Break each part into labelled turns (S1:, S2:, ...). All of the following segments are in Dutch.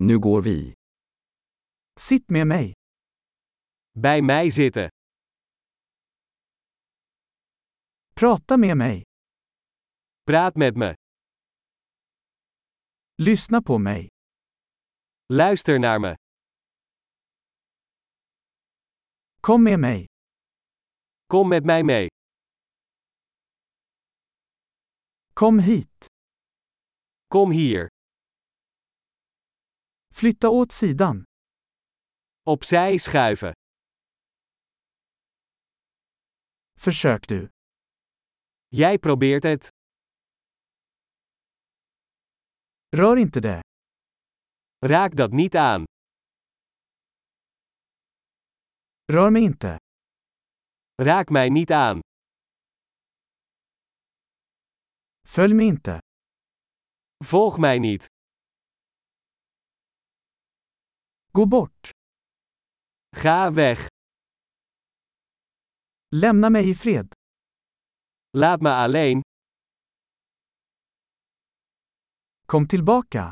S1: Nu går vi. Sitt med mig.
S2: Bij mij zitten.
S1: Prata med mig.
S2: Praat met me.
S1: Lyssna på mig.
S2: Luister naar me.
S1: Kom med mig.
S2: Kom met mij mee.
S1: Kom hit.
S2: Kom hier.
S1: Flytta åt sidan.
S2: Opzij schuiven.
S1: Försök du.
S2: Jij probeert het.
S1: Rör inte det.
S2: Raak dat niet aan.
S1: Rör mig inte.
S2: Raak mij niet aan.
S1: Följ mig inte.
S2: Volg mij niet.
S1: Gå bort.
S2: Ga weg.
S1: Lämna mig i fred.
S2: Laat me alleen.
S1: Kom tillbaka.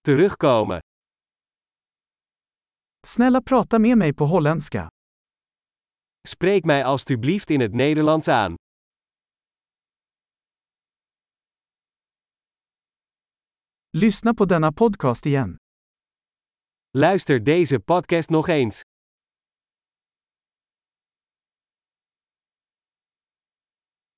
S2: Terugkomen.
S1: Snälla prata med mig på holländska.
S2: Spreek mij alstublieft in het Nederlands aan.
S1: Lyssna på denna podcast igen.
S2: Luister deze podcast nog eens.